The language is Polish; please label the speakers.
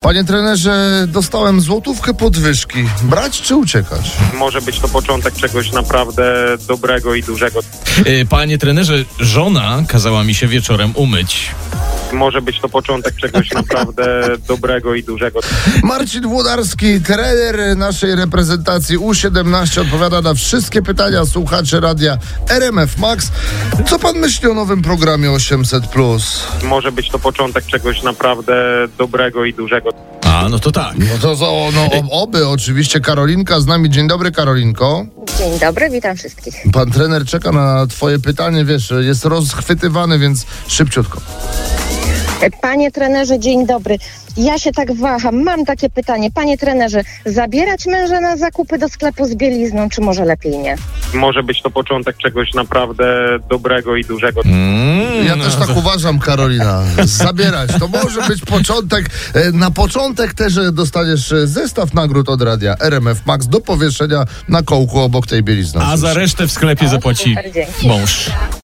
Speaker 1: Panie trenerze, dostałem złotówkę podwyżki. Brać czy uciekać?
Speaker 2: może być to początek czegoś naprawdę dobrego i dużego.
Speaker 3: E, Panie trenerze, żona kazała mi się wieczorem umyć.
Speaker 2: Może być to początek czegoś naprawdę dobrego i dużego.
Speaker 1: Marcin Włodarski, trener naszej reprezentacji U17, odpowiada na wszystkie pytania słuchaczy radia RMF Max. Co pan myśli o nowym programie 800?
Speaker 2: Może być to początek czegoś naprawdę dobrego i dużego.
Speaker 3: A, no to tak.
Speaker 1: No to za, no, o- oby, oczywiście. Karolinka z nami. Dzień dobry, Karolinko.
Speaker 4: Dzień dobry, witam wszystkich.
Speaker 1: Pan trener czeka na Twoje pytanie, wiesz, jest rozchwytywany, więc szybciutko.
Speaker 4: Panie trenerze, dzień dobry. Ja się tak waham, mam takie pytanie. Panie trenerze, zabierać męża na zakupy do sklepu z bielizną, czy może lepiej nie?
Speaker 2: Może być to początek czegoś naprawdę dobrego i dużego.
Speaker 3: Mm,
Speaker 1: Ja
Speaker 3: no
Speaker 1: też tak
Speaker 3: to-
Speaker 1: uważam, Karolina. Zabierać. To może być początek. E, Na początek też e, dostaniesz e, zestaw nagród od radia RMF Max do powieszenia na kołku obok tej bielizny.
Speaker 3: A za resztę w sklepie zapłaci
Speaker 4: super, dzięki.
Speaker 3: mąż.